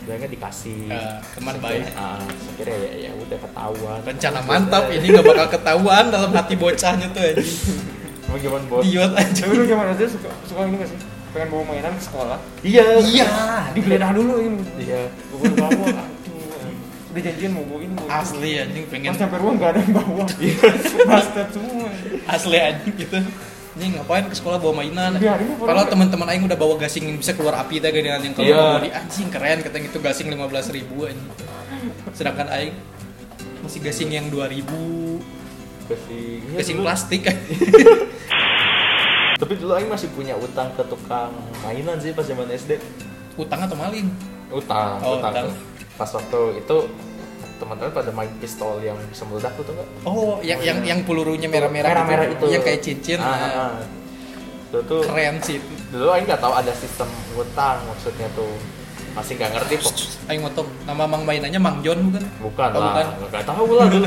Speaker 6: bilangnya dikasih.
Speaker 1: Eh, teman
Speaker 6: Terus
Speaker 1: baik.
Speaker 6: akhirnya- Ah, terus akhirnya ya ya udah ketahuan.
Speaker 1: Rencana mantap ya. ini nggak bakal ketahuan dalam hati bocahnya tuh anjing.
Speaker 6: Emang gimana bos?
Speaker 1: Idiot anjing.
Speaker 6: Tapi lu
Speaker 1: gimana?
Speaker 6: Dia suka suka ini nggak sih? Pengen bawa mainan ke sekolah?
Speaker 1: Iya. Iya.
Speaker 6: Digeledah dulu ini. Iya. Gue bawa. Udah janjian mau bawa ini.
Speaker 1: Asli anjing pengen
Speaker 6: rumah nggak ada yang bawa.
Speaker 1: Iya.
Speaker 6: Bastet semua.
Speaker 1: asli anjing gitu. Ini ngapain ke sekolah bawa mainan?
Speaker 6: Iya, ini bawa-
Speaker 1: Kalau teman-teman aing udah bawa gasing yang bisa keluar api teh gedean yang kalau
Speaker 6: Iya.
Speaker 1: mau di anjing keren katanya itu gasing 15.000 ribu anjing. Sedangkan aing masih gasing yang 2000
Speaker 6: Gasing. Iya,
Speaker 1: gasing
Speaker 6: dulu-
Speaker 1: plastik anjing.
Speaker 6: Tapi dulu Aing masih punya utang ke tukang mainan sih pas zaman SD.
Speaker 1: utang atau maling
Speaker 6: utang
Speaker 1: Oh,
Speaker 6: utang.
Speaker 1: utang.
Speaker 6: pas waktu itu teman-teman pada main pistol yang bisa meledak tuh nggak
Speaker 1: oh yang yang yang pelurunya merah-merah
Speaker 6: iya, merah-merah
Speaker 1: gitu.
Speaker 6: itu
Speaker 1: yang kayak cincin
Speaker 6: ah, ah, ah. Itu tuh
Speaker 1: keren sih
Speaker 6: dulu aing nggak tahu ada sistem utang maksudnya tuh masih nggak ngerti kok
Speaker 1: aing motong nama mang mainannya mang John bukan
Speaker 6: bukan
Speaker 1: Oh,
Speaker 6: lah
Speaker 1: bukan.
Speaker 6: nggak tahu lah dulu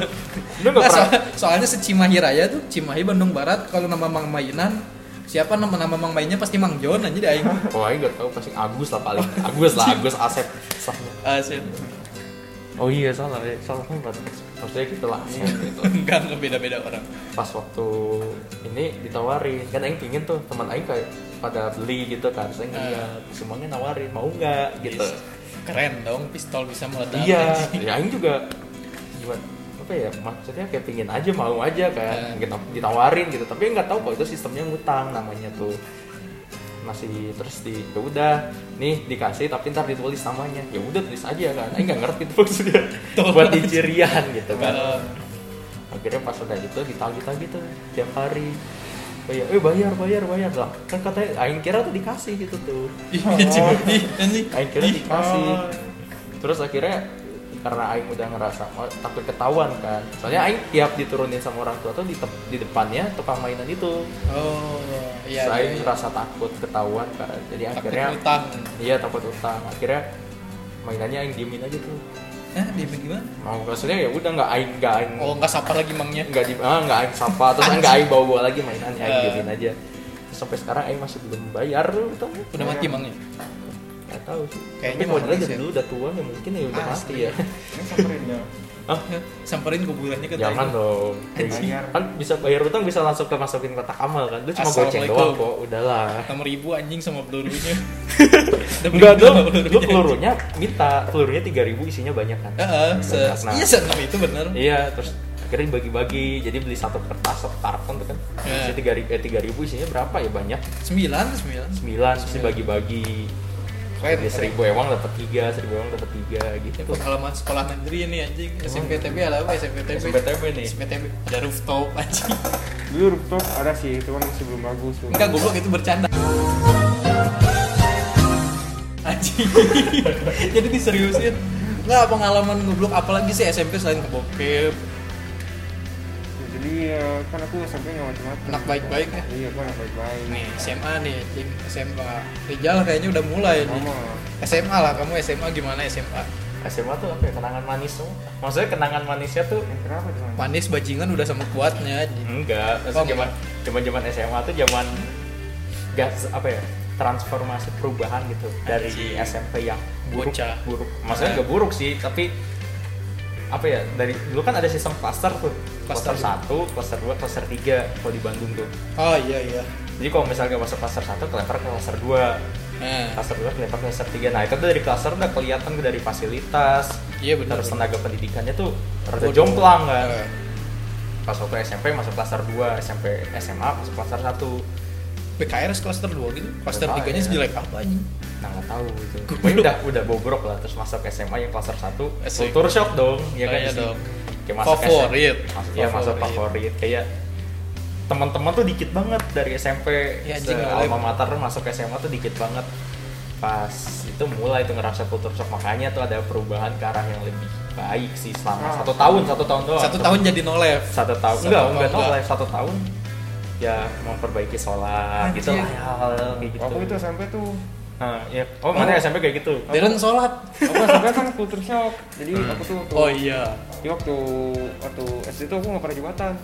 Speaker 6: dulu nggak
Speaker 1: Nah,
Speaker 6: pernah
Speaker 1: soal- soalnya se Cimahi Raya tuh Cimahi Bandung Barat kalau nama mang mainan siapa nama nama mang mainnya pasti mang John aja deh aing
Speaker 6: oh aing nggak tahu pasti Agus lah paling Agus lah Agus Asep Salah.
Speaker 1: Asik.
Speaker 6: oh iya salah ya. salah kan maksudnya gitu lah Asep
Speaker 1: Iya.
Speaker 6: gitu
Speaker 1: enggak enggak beda-beda orang
Speaker 6: pas waktu ini ditawarin kan Aing pingin tuh teman Aing kayak pada beli gitu kan saya ngeliat semuanya nawarin mau nggak gitu
Speaker 1: keren dong pistol bisa meledak
Speaker 6: iya
Speaker 1: anjing.
Speaker 6: ya Aing juga gimana apa ya maksudnya kayak pingin aja mau aja kan
Speaker 1: Eh.
Speaker 6: Gitu, ditawarin gitu tapi nggak tahu kok itu sistemnya ngutang namanya tuh masih terus di ya udah nih dikasih tapi ntar ditulis namanya ya udah tulis aja kan Aing nggak ngerti tuh maksudnya
Speaker 1: Tolong.
Speaker 6: buat dicirian gitu kan
Speaker 1: Kalau
Speaker 6: akhirnya pas udah itu ditagih-tagih tuh tiap hari bayar eh bayar bayar bayar lah kan katanya aing kira tuh dikasih gitu tuh
Speaker 1: ih, Cimahi anjing.
Speaker 6: aing kira dikasih
Speaker 1: oh.
Speaker 6: terus akhirnya karena aing udah ngerasa oh, takut ketahuan kan soalnya aing tiap diturunin sama orang tua tuh di, tep- di depannya tukang mainan itu
Speaker 1: oh iya,
Speaker 6: Terus
Speaker 1: iya,
Speaker 6: aing
Speaker 1: iya.
Speaker 6: ngerasa takut ketahuan kan jadi
Speaker 1: Takut
Speaker 6: akhirnya
Speaker 1: utang
Speaker 6: iya takut utang akhirnya mainannya aing diemin aja tuh
Speaker 1: eh dia gimana
Speaker 6: mau maksudnya ya udah nggak aing nggak aing
Speaker 1: oh enggak sapa lagi mangnya
Speaker 6: nggak di ah, nggak aing sapa terus nggak aing bawa bawa lagi mainan aing
Speaker 1: Eh.
Speaker 6: diemin aja terus sampai sekarang aing masih belum bayar tuh tau nggak?
Speaker 1: udah mati ya? mangnya
Speaker 6: nggak tahu sih
Speaker 1: Kayaknya
Speaker 6: kayaknya modelnya
Speaker 1: manis
Speaker 6: dari
Speaker 1: ya.
Speaker 6: dulu udah tua ya mungkin ya udah mati ya ah
Speaker 1: samperin kuburannya ke
Speaker 6: jangan dong kan bisa bayar utang bisa langsung ke masukin kotak amal kan lu cuma goceng
Speaker 1: Assalamualaikum.
Speaker 6: doang kok udahlah
Speaker 1: enam ribu anjing sama pelurunya
Speaker 6: Enggak dong, lu pelurunya minta pelurunya tiga ribu isinya banyak kan?
Speaker 1: Heeh, se
Speaker 6: Nah.
Speaker 1: iya se itu bener
Speaker 6: Iya, terus akhirnya dibagi-bagi, jadi beli satu kertas satu karton tuh kan,
Speaker 1: Iya.
Speaker 6: isinya tiga ribu, eh tiga ribu isinya berapa ya banyak?
Speaker 1: sembilan sembilan
Speaker 6: sembilan terus dibagi-bagi
Speaker 1: Keren, keren.
Speaker 6: Jadi seribu emang dapat tiga seribu emang dapat tiga gitu
Speaker 1: pengalaman Ya, sekolah negeri ini anjing SMPTB ada apa SMPTB
Speaker 6: SMPTB nih.
Speaker 1: SMPTB ada Ya, rooftop anjing
Speaker 3: Dulu rooftop ada sih, cuman masih belum bagus. Belum.
Speaker 1: enggak goblok itu bercanda anjing jadi diseriusin enggak pengalaman goblok apalagi sih SMP selain kebokep
Speaker 3: Jadi eh, kan aku SMP nggak macam-macam.
Speaker 1: anak baik-baik ya
Speaker 3: Iya, aku anak baik-baik.
Speaker 1: nih SMA nih anjing SMA Rijal Ya, kayaknya udah mulai nih
Speaker 3: Sama.
Speaker 1: SMA lah kamu SMA gimana SMA
Speaker 6: SMA tuh apa ya kenangan manis tuh maksudnya kenangan manisnya tuh
Speaker 3: Yang kenapa tuh? Mas?
Speaker 1: manis bajingan udah sama kuatnya anjing.
Speaker 6: enggak
Speaker 1: Oh,
Speaker 6: maksudnya zaman zaman zaman SMA tuh zaman gas apa ya transformasi perubahan gitu dari
Speaker 1: Anjing.
Speaker 6: SMP yang buruk
Speaker 1: Bocah.
Speaker 6: buruk maksudnya nggak buruk sih tapi apa ya dari dulu kan ada sistem cluster tuh
Speaker 1: Cluster.
Speaker 6: cluster satu cluster dua cluster tiga kalau di Bandung tuh
Speaker 1: oh iya iya
Speaker 6: jadi kalau misalnya masuk cluster satu kelempar ke cluster dua
Speaker 1: nah,
Speaker 6: klaster 2 kelempar klaster 3 nah itu tuh dari klaster udah kelihatan dari fasilitas
Speaker 1: Iya, benar.
Speaker 6: terus tenaga pendidikannya tuh rada
Speaker 1: Waduh.
Speaker 6: jomplang kan
Speaker 1: Eh.
Speaker 6: pas waktu SMP masuk klaster 2 SMP SMA masuk klaster 1
Speaker 1: BKR klaster 2 gitu klaster
Speaker 6: Nggak
Speaker 1: 3
Speaker 6: tahu
Speaker 1: nya
Speaker 6: ya.
Speaker 1: sejelek apa anjing
Speaker 6: nah nggak tahu gitu Pokoknya udah udah bobrok lah terus masuk SMA yang klaster 1
Speaker 1: Asik.
Speaker 6: kultur shock dong ya
Speaker 1: Oh,
Speaker 6: kan
Speaker 1: iya
Speaker 6: isi.
Speaker 1: dong.
Speaker 6: kayak masuk
Speaker 1: Favorit.
Speaker 6: SMA, masuk, ya masuk
Speaker 1: Favorit.
Speaker 6: favorit kayak
Speaker 4: teman-teman tuh dikit banget dari SMP
Speaker 1: Ya,
Speaker 4: se-
Speaker 1: anjing, nggak boleh.
Speaker 4: alma mater masuk SMA tuh dikit banget pas itu mulai tuh ngerasa kultur shock makanya tuh ada perubahan ke arah yang lebih baik sih selama
Speaker 3: Ah.
Speaker 4: satu tahun satu tahun doang
Speaker 1: Satu tahun jadi no lab.
Speaker 4: satu tahun
Speaker 1: Satu
Speaker 4: enggak
Speaker 1: tahun
Speaker 4: enggak
Speaker 1: enggak.
Speaker 4: tahu lah satu tahun ya memperbaiki sholat gitu lah ya, hal kayak gitu
Speaker 3: Aku itu sampai tuh
Speaker 4: Nah, ya. oh mana SMP kayak gitu
Speaker 1: Darren sholat.
Speaker 3: aku SMP kan kultur shock jadi aku tuh waktu,
Speaker 1: Oh iya.
Speaker 3: di waktu waktu SD tuh aku nggak pernah jumatan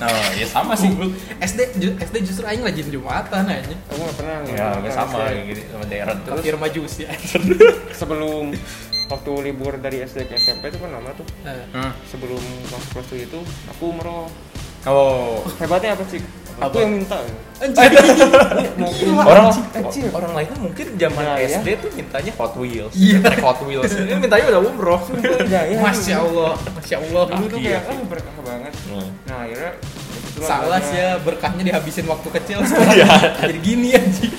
Speaker 4: nah ya sama sih
Speaker 1: SD ju- SD justru aing lagi jumatan aja.
Speaker 3: aku nggak pernah
Speaker 1: Iya,
Speaker 4: ya
Speaker 3: ngejumatan
Speaker 4: sama
Speaker 3: SD.
Speaker 4: kayak gitu sama Darren terus
Speaker 1: Kafir majusi anjir.
Speaker 3: sebelum waktu libur dari SD ke SMP tuh kan lama tuh
Speaker 1: Eh,
Speaker 4: Hmm.
Speaker 3: sebelum masuk kelas tujuh itu aku umroh
Speaker 4: oh
Speaker 3: hebatnya apa sih aku yang minta
Speaker 1: Anjir.
Speaker 3: mau Iya,
Speaker 4: orang
Speaker 3: umroh kecil
Speaker 4: orang lain tuh mungkin zaman
Speaker 3: Nah, ya.
Speaker 4: SD tuh mintanya Hot Wheels
Speaker 1: Iya.
Speaker 4: Trek Hot Wheels ini mintanya udah umroh
Speaker 3: ya, ya.
Speaker 1: Masya Allah, Masya Allah. Hmm.
Speaker 3: dulu tuh
Speaker 4: Iya.
Speaker 3: kayak ah berkah banget nah akhirnya itulah
Speaker 1: Salah
Speaker 3: banyak-
Speaker 1: sih ya berkahnya dihabisin waktu kecil sekarang jadi gini anjing.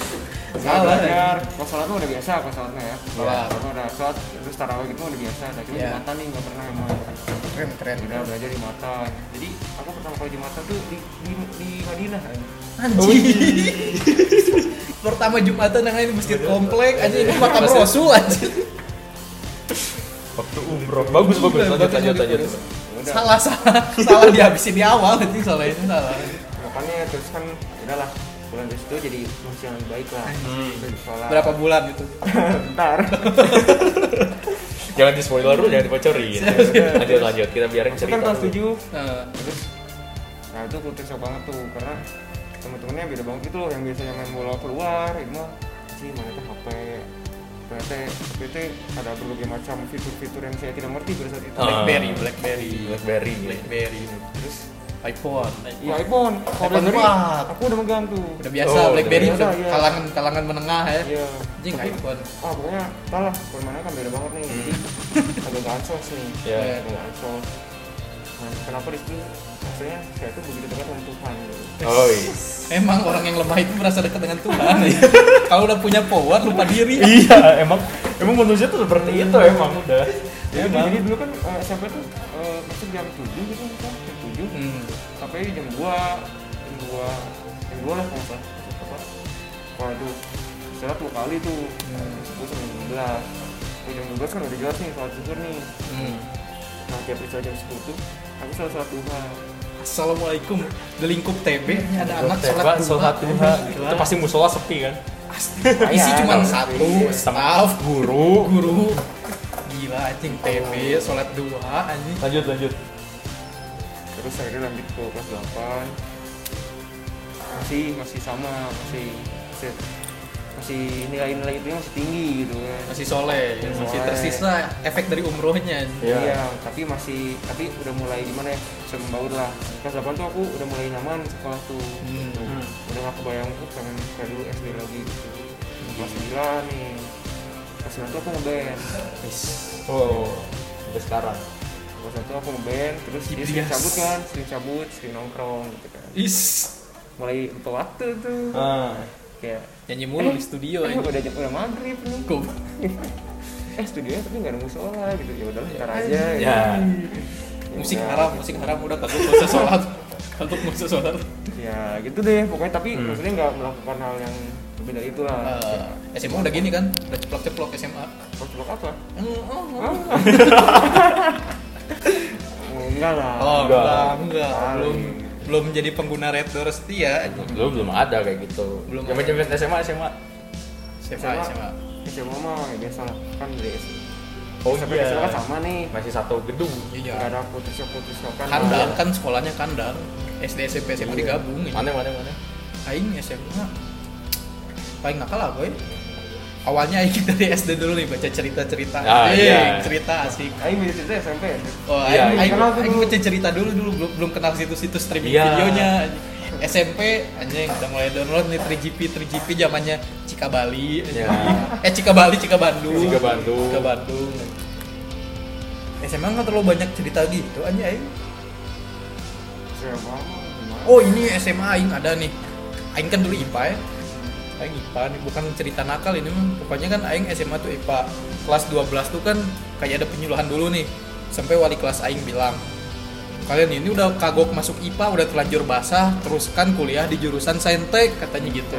Speaker 1: Salah. ya.
Speaker 3: Salah belajar, kalau sholat mah udah biasa, kalau sholatnya ya
Speaker 1: Sholat.
Speaker 3: Kalau udah sholat, terus tarawih gitu mah udah biasa Nah, cuma
Speaker 1: Iya.
Speaker 3: Jumatan nih nggak pernah emang
Speaker 1: Keren keren.
Speaker 3: Udah belajar Jumatan Jadi aku pertama kali Jumatan tuh di, di, di Madinah kan
Speaker 1: Anjing. Pertama Jumatan yang lain di masjid komplek aja ini makam Rasul anjing.
Speaker 4: waktu umroh bagus bagus lanjut
Speaker 1: Bagus,
Speaker 4: lanjut
Speaker 1: bagus,
Speaker 4: lanjut
Speaker 1: bagus. Salah salah salah dihabisin di awal anjing salah itu salah.
Speaker 3: Makanya terus kan udahlah bulan dari situ jadi manusia yang lebih baik lah
Speaker 1: Hmm.
Speaker 3: Terus sholat
Speaker 1: Berapa bulan gitu?
Speaker 3: Bentar
Speaker 4: jangan di spoiler dulu jangan dibocorin lanjut lanjut kita biarin
Speaker 3: Itu kan
Speaker 4: cerita
Speaker 3: kelas
Speaker 4: dulu.
Speaker 3: 7
Speaker 1: Eh,
Speaker 3: Terus Nah itu kultur shock banget tuh Karena temen-temennya beda banget gitu loh Yang biasanya main bola keluar Ini mah sih mana tuh HP Ternyata HP itu ada berbagai macam fitur-fitur yang saya tidak ngerti pada saat itu
Speaker 4: Ah.
Speaker 1: Blackberry, Blackberry,
Speaker 4: Blackberry
Speaker 1: Blackberry,
Speaker 3: Terus
Speaker 1: iPhone.
Speaker 3: ya iPhone Kalau
Speaker 1: iPhone
Speaker 3: BlackBerry,
Speaker 1: 4.
Speaker 3: Aku udah megang tuh
Speaker 1: Udah biasa
Speaker 4: Oh, udah
Speaker 1: BlackBerry
Speaker 3: biasa,
Speaker 1: udah
Speaker 3: iya.
Speaker 1: kalangan kalangan menengah ya.
Speaker 3: Iya
Speaker 1: Anjing
Speaker 3: Tapi,
Speaker 1: iPhone. Hmm.
Speaker 3: Ah pokoknya entah lah Permainan kan beda banget nih Jadi agak gansos nih
Speaker 4: Iya.
Speaker 3: Agak gansos Nah, kenapa di situ rasanya saya tuh begitu dekat sama Tuhan gitu.
Speaker 4: oh iya
Speaker 1: Emang orang yang lemah itu merasa dekat dengan Tuhan. ya. Kalau udah punya power lupa diri.
Speaker 4: iya emang emang manusia tuh seperti itu emang udah
Speaker 3: Jadi, jadi dulu kan eh, SMP tuh eh, masuk jam 7 gitu kan, jam 7
Speaker 1: Hmm.
Speaker 3: sampai jam 2 jam 2 jam 2 lah kalau nggak salah apa kalau itu istirahat dua kali tuh sepuluh sampai jam 12 Nah, jam 12 kan udah jelas nih sholat zuhur nih
Speaker 1: Hmm.
Speaker 3: nah tiap istirahat jam 10 tuh aku selalu sholat duha
Speaker 1: Assalamualaikum. Di lingkup TB ada anak
Speaker 4: Coba
Speaker 1: sholat duha.
Speaker 4: sholat duha itu pasti musola sepi kan
Speaker 1: Isi cuma satu, staff,
Speaker 4: guru
Speaker 1: guru. Gila anjing TB sholat duha anjing.
Speaker 4: lanjut lanjut
Speaker 3: terus akhirnya lanjut ke kelas 8 masih masih sama masih masih, masih nilai-nilai itu masih tinggi gitu kan
Speaker 1: Masih soleh, ya. masih
Speaker 3: Soleh.
Speaker 1: tersisa efek dari umrohnya. anjing.
Speaker 4: Iya.
Speaker 3: Iya, tapi masih tapi udah mulai gimana ya? Bisa membaur lah. Kelas 8 tuh aku udah mulai nyaman sekolah tuh.
Speaker 1: Hmm.
Speaker 3: Tuh. Udah gak kebayang tuh pengen kayak dulu SD lagi gitu.
Speaker 1: Hmm.
Speaker 3: Kelas 9 nih. Kelas 9 tuh aku ngeband.
Speaker 4: oh sampai sekarang
Speaker 3: Kelas 1 tuh aku ngeband, terus dia
Speaker 1: Yes.
Speaker 3: sering cabut kan, sering cabut, sering nongkrong gitu kan.
Speaker 1: Is
Speaker 3: Mulai untuk waktu tuh.
Speaker 4: ah
Speaker 3: Kayak
Speaker 1: nyanyi mulu di studio
Speaker 3: eh,
Speaker 1: anjing.
Speaker 3: udah jam udah maghrib nih.
Speaker 1: Gob-
Speaker 3: Eh studionya tapi nggak ada musola gitu. Ya udahlah ntar aja. gitu.
Speaker 4: ya
Speaker 3: Ya
Speaker 1: musik
Speaker 3: udah.
Speaker 1: haram, musik haram udah kagak usah sholat. Kagak usah sholat.
Speaker 3: Ya gitu deh. Pokoknya tapi
Speaker 4: Hmm.
Speaker 3: maksudnya nggak melakukan hal yang lebih dari itu lah.
Speaker 1: Eh, SMA udah gini kan, udah ceplok-ceplok SMA.
Speaker 3: Blok Oh, apa?
Speaker 1: Mm, oh,
Speaker 3: Hah? Oh, enggak lah.
Speaker 1: Oh,
Speaker 4: Enggak.
Speaker 1: enggak, enggak.
Speaker 3: Kali.
Speaker 1: Belum belum jadi pengguna Red Door setia.
Speaker 4: lu belum ada kayak gitu
Speaker 1: Belum
Speaker 4: zaman zaman SMA SMA
Speaker 1: SMA, SMA.
Speaker 3: SMA mah ya biasa lah. Kan dari S-
Speaker 4: oh
Speaker 3: SMP
Speaker 4: iya
Speaker 3: SMA kan sama nih.
Speaker 4: masih satu gedung
Speaker 1: Iya.
Speaker 3: Enggak ada putus-putus kan.
Speaker 1: Kandang kan sekolahnya kandang. SD, SMP, SMA digabung. ya.
Speaker 4: Iya. mana mana mana
Speaker 1: Aing SMA paling nakal lah boy. Awalnya Aing dari SD dulu nih baca cerita-cerita.
Speaker 4: Ah,
Speaker 1: Anjing,
Speaker 4: iya.
Speaker 1: cerita asik.
Speaker 3: Ayo milih cerita SMP ya.
Speaker 1: Oh,
Speaker 4: Iya,
Speaker 1: aing,
Speaker 4: iya.
Speaker 1: aing,
Speaker 3: Kenal tuh
Speaker 1: aing
Speaker 3: dulu.
Speaker 1: baca cerita dulu dulu belum belum kenal situs-situs streaming
Speaker 4: Iya.
Speaker 1: videonya. SMP anjing udah mulai download nih 3GP 3GP zamannya Cika Bali. anjing.
Speaker 4: Iya.
Speaker 1: Eh Cika Bali, Cika Bandung.
Speaker 4: Cika Bandung.
Speaker 1: Cika Bandung. SMA nggak terlalu banyak cerita gitu aja aing.
Speaker 3: SMA mah gimana?
Speaker 1: Oh, ini SMA aing ada nih. Aing kan dulu IPA ya. Aing IPA nih bukan cerita nakal ini mah. Pokoknya kan aing SMA tuh IPA. Kelas 12 tuh kan kayak ada penyuluhan dulu nih. Sampai wali kelas aing bilang, kalian ini udah kagok masuk IPA udah terlanjur basah teruskan kuliah di jurusan saintek katanya gitu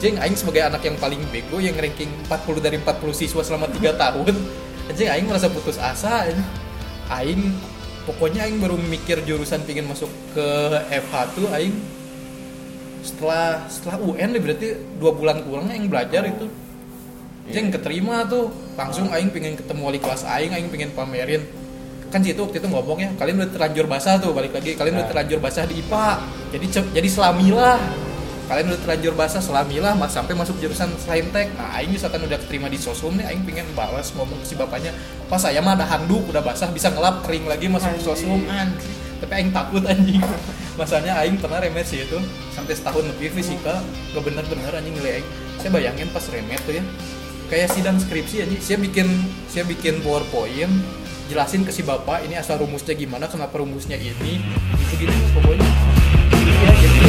Speaker 1: anjing aing sebagai anak yang paling bego yang ranking 40 dari 40 siswa selama 3 tahun anjing aing merasa putus asa anjing. aing pokoknya aing baru mikir jurusan pingin masuk ke FH tuh aing setelah setelah UN deh, berarti dua bulan kurang aing belajar itu Iya. Jeng keterima tuh langsung aing pengen ketemu wali kelas aing aing pengen pamerin kan situ waktu itu ngomong ya kalian udah terlanjur basah tuh balik lagi kalian udah terlanjur basah di IPA jadi cep- jadi selamilah kalian udah terlanjur basah selamilah mas sampai masuk jurusan saintek nah aing misalkan udah keterima di sosum nih aing pengen balas ngomong ke si bapaknya pas saya mah ada handuk udah basah bisa ngelap kering lagi masuk sosum anjing tapi aing takut anjing masanya aing pernah remet sih itu sampai setahun lebih fisika gak bener-bener anjing nilai aing saya bayangin pas remet tuh ya kayak sidang skripsi aja saya bikin saya bikin powerpoint jelasin ke si bapak ini asal rumusnya gimana kenapa rumusnya ini gitu gitu pokoknya Iya, jadi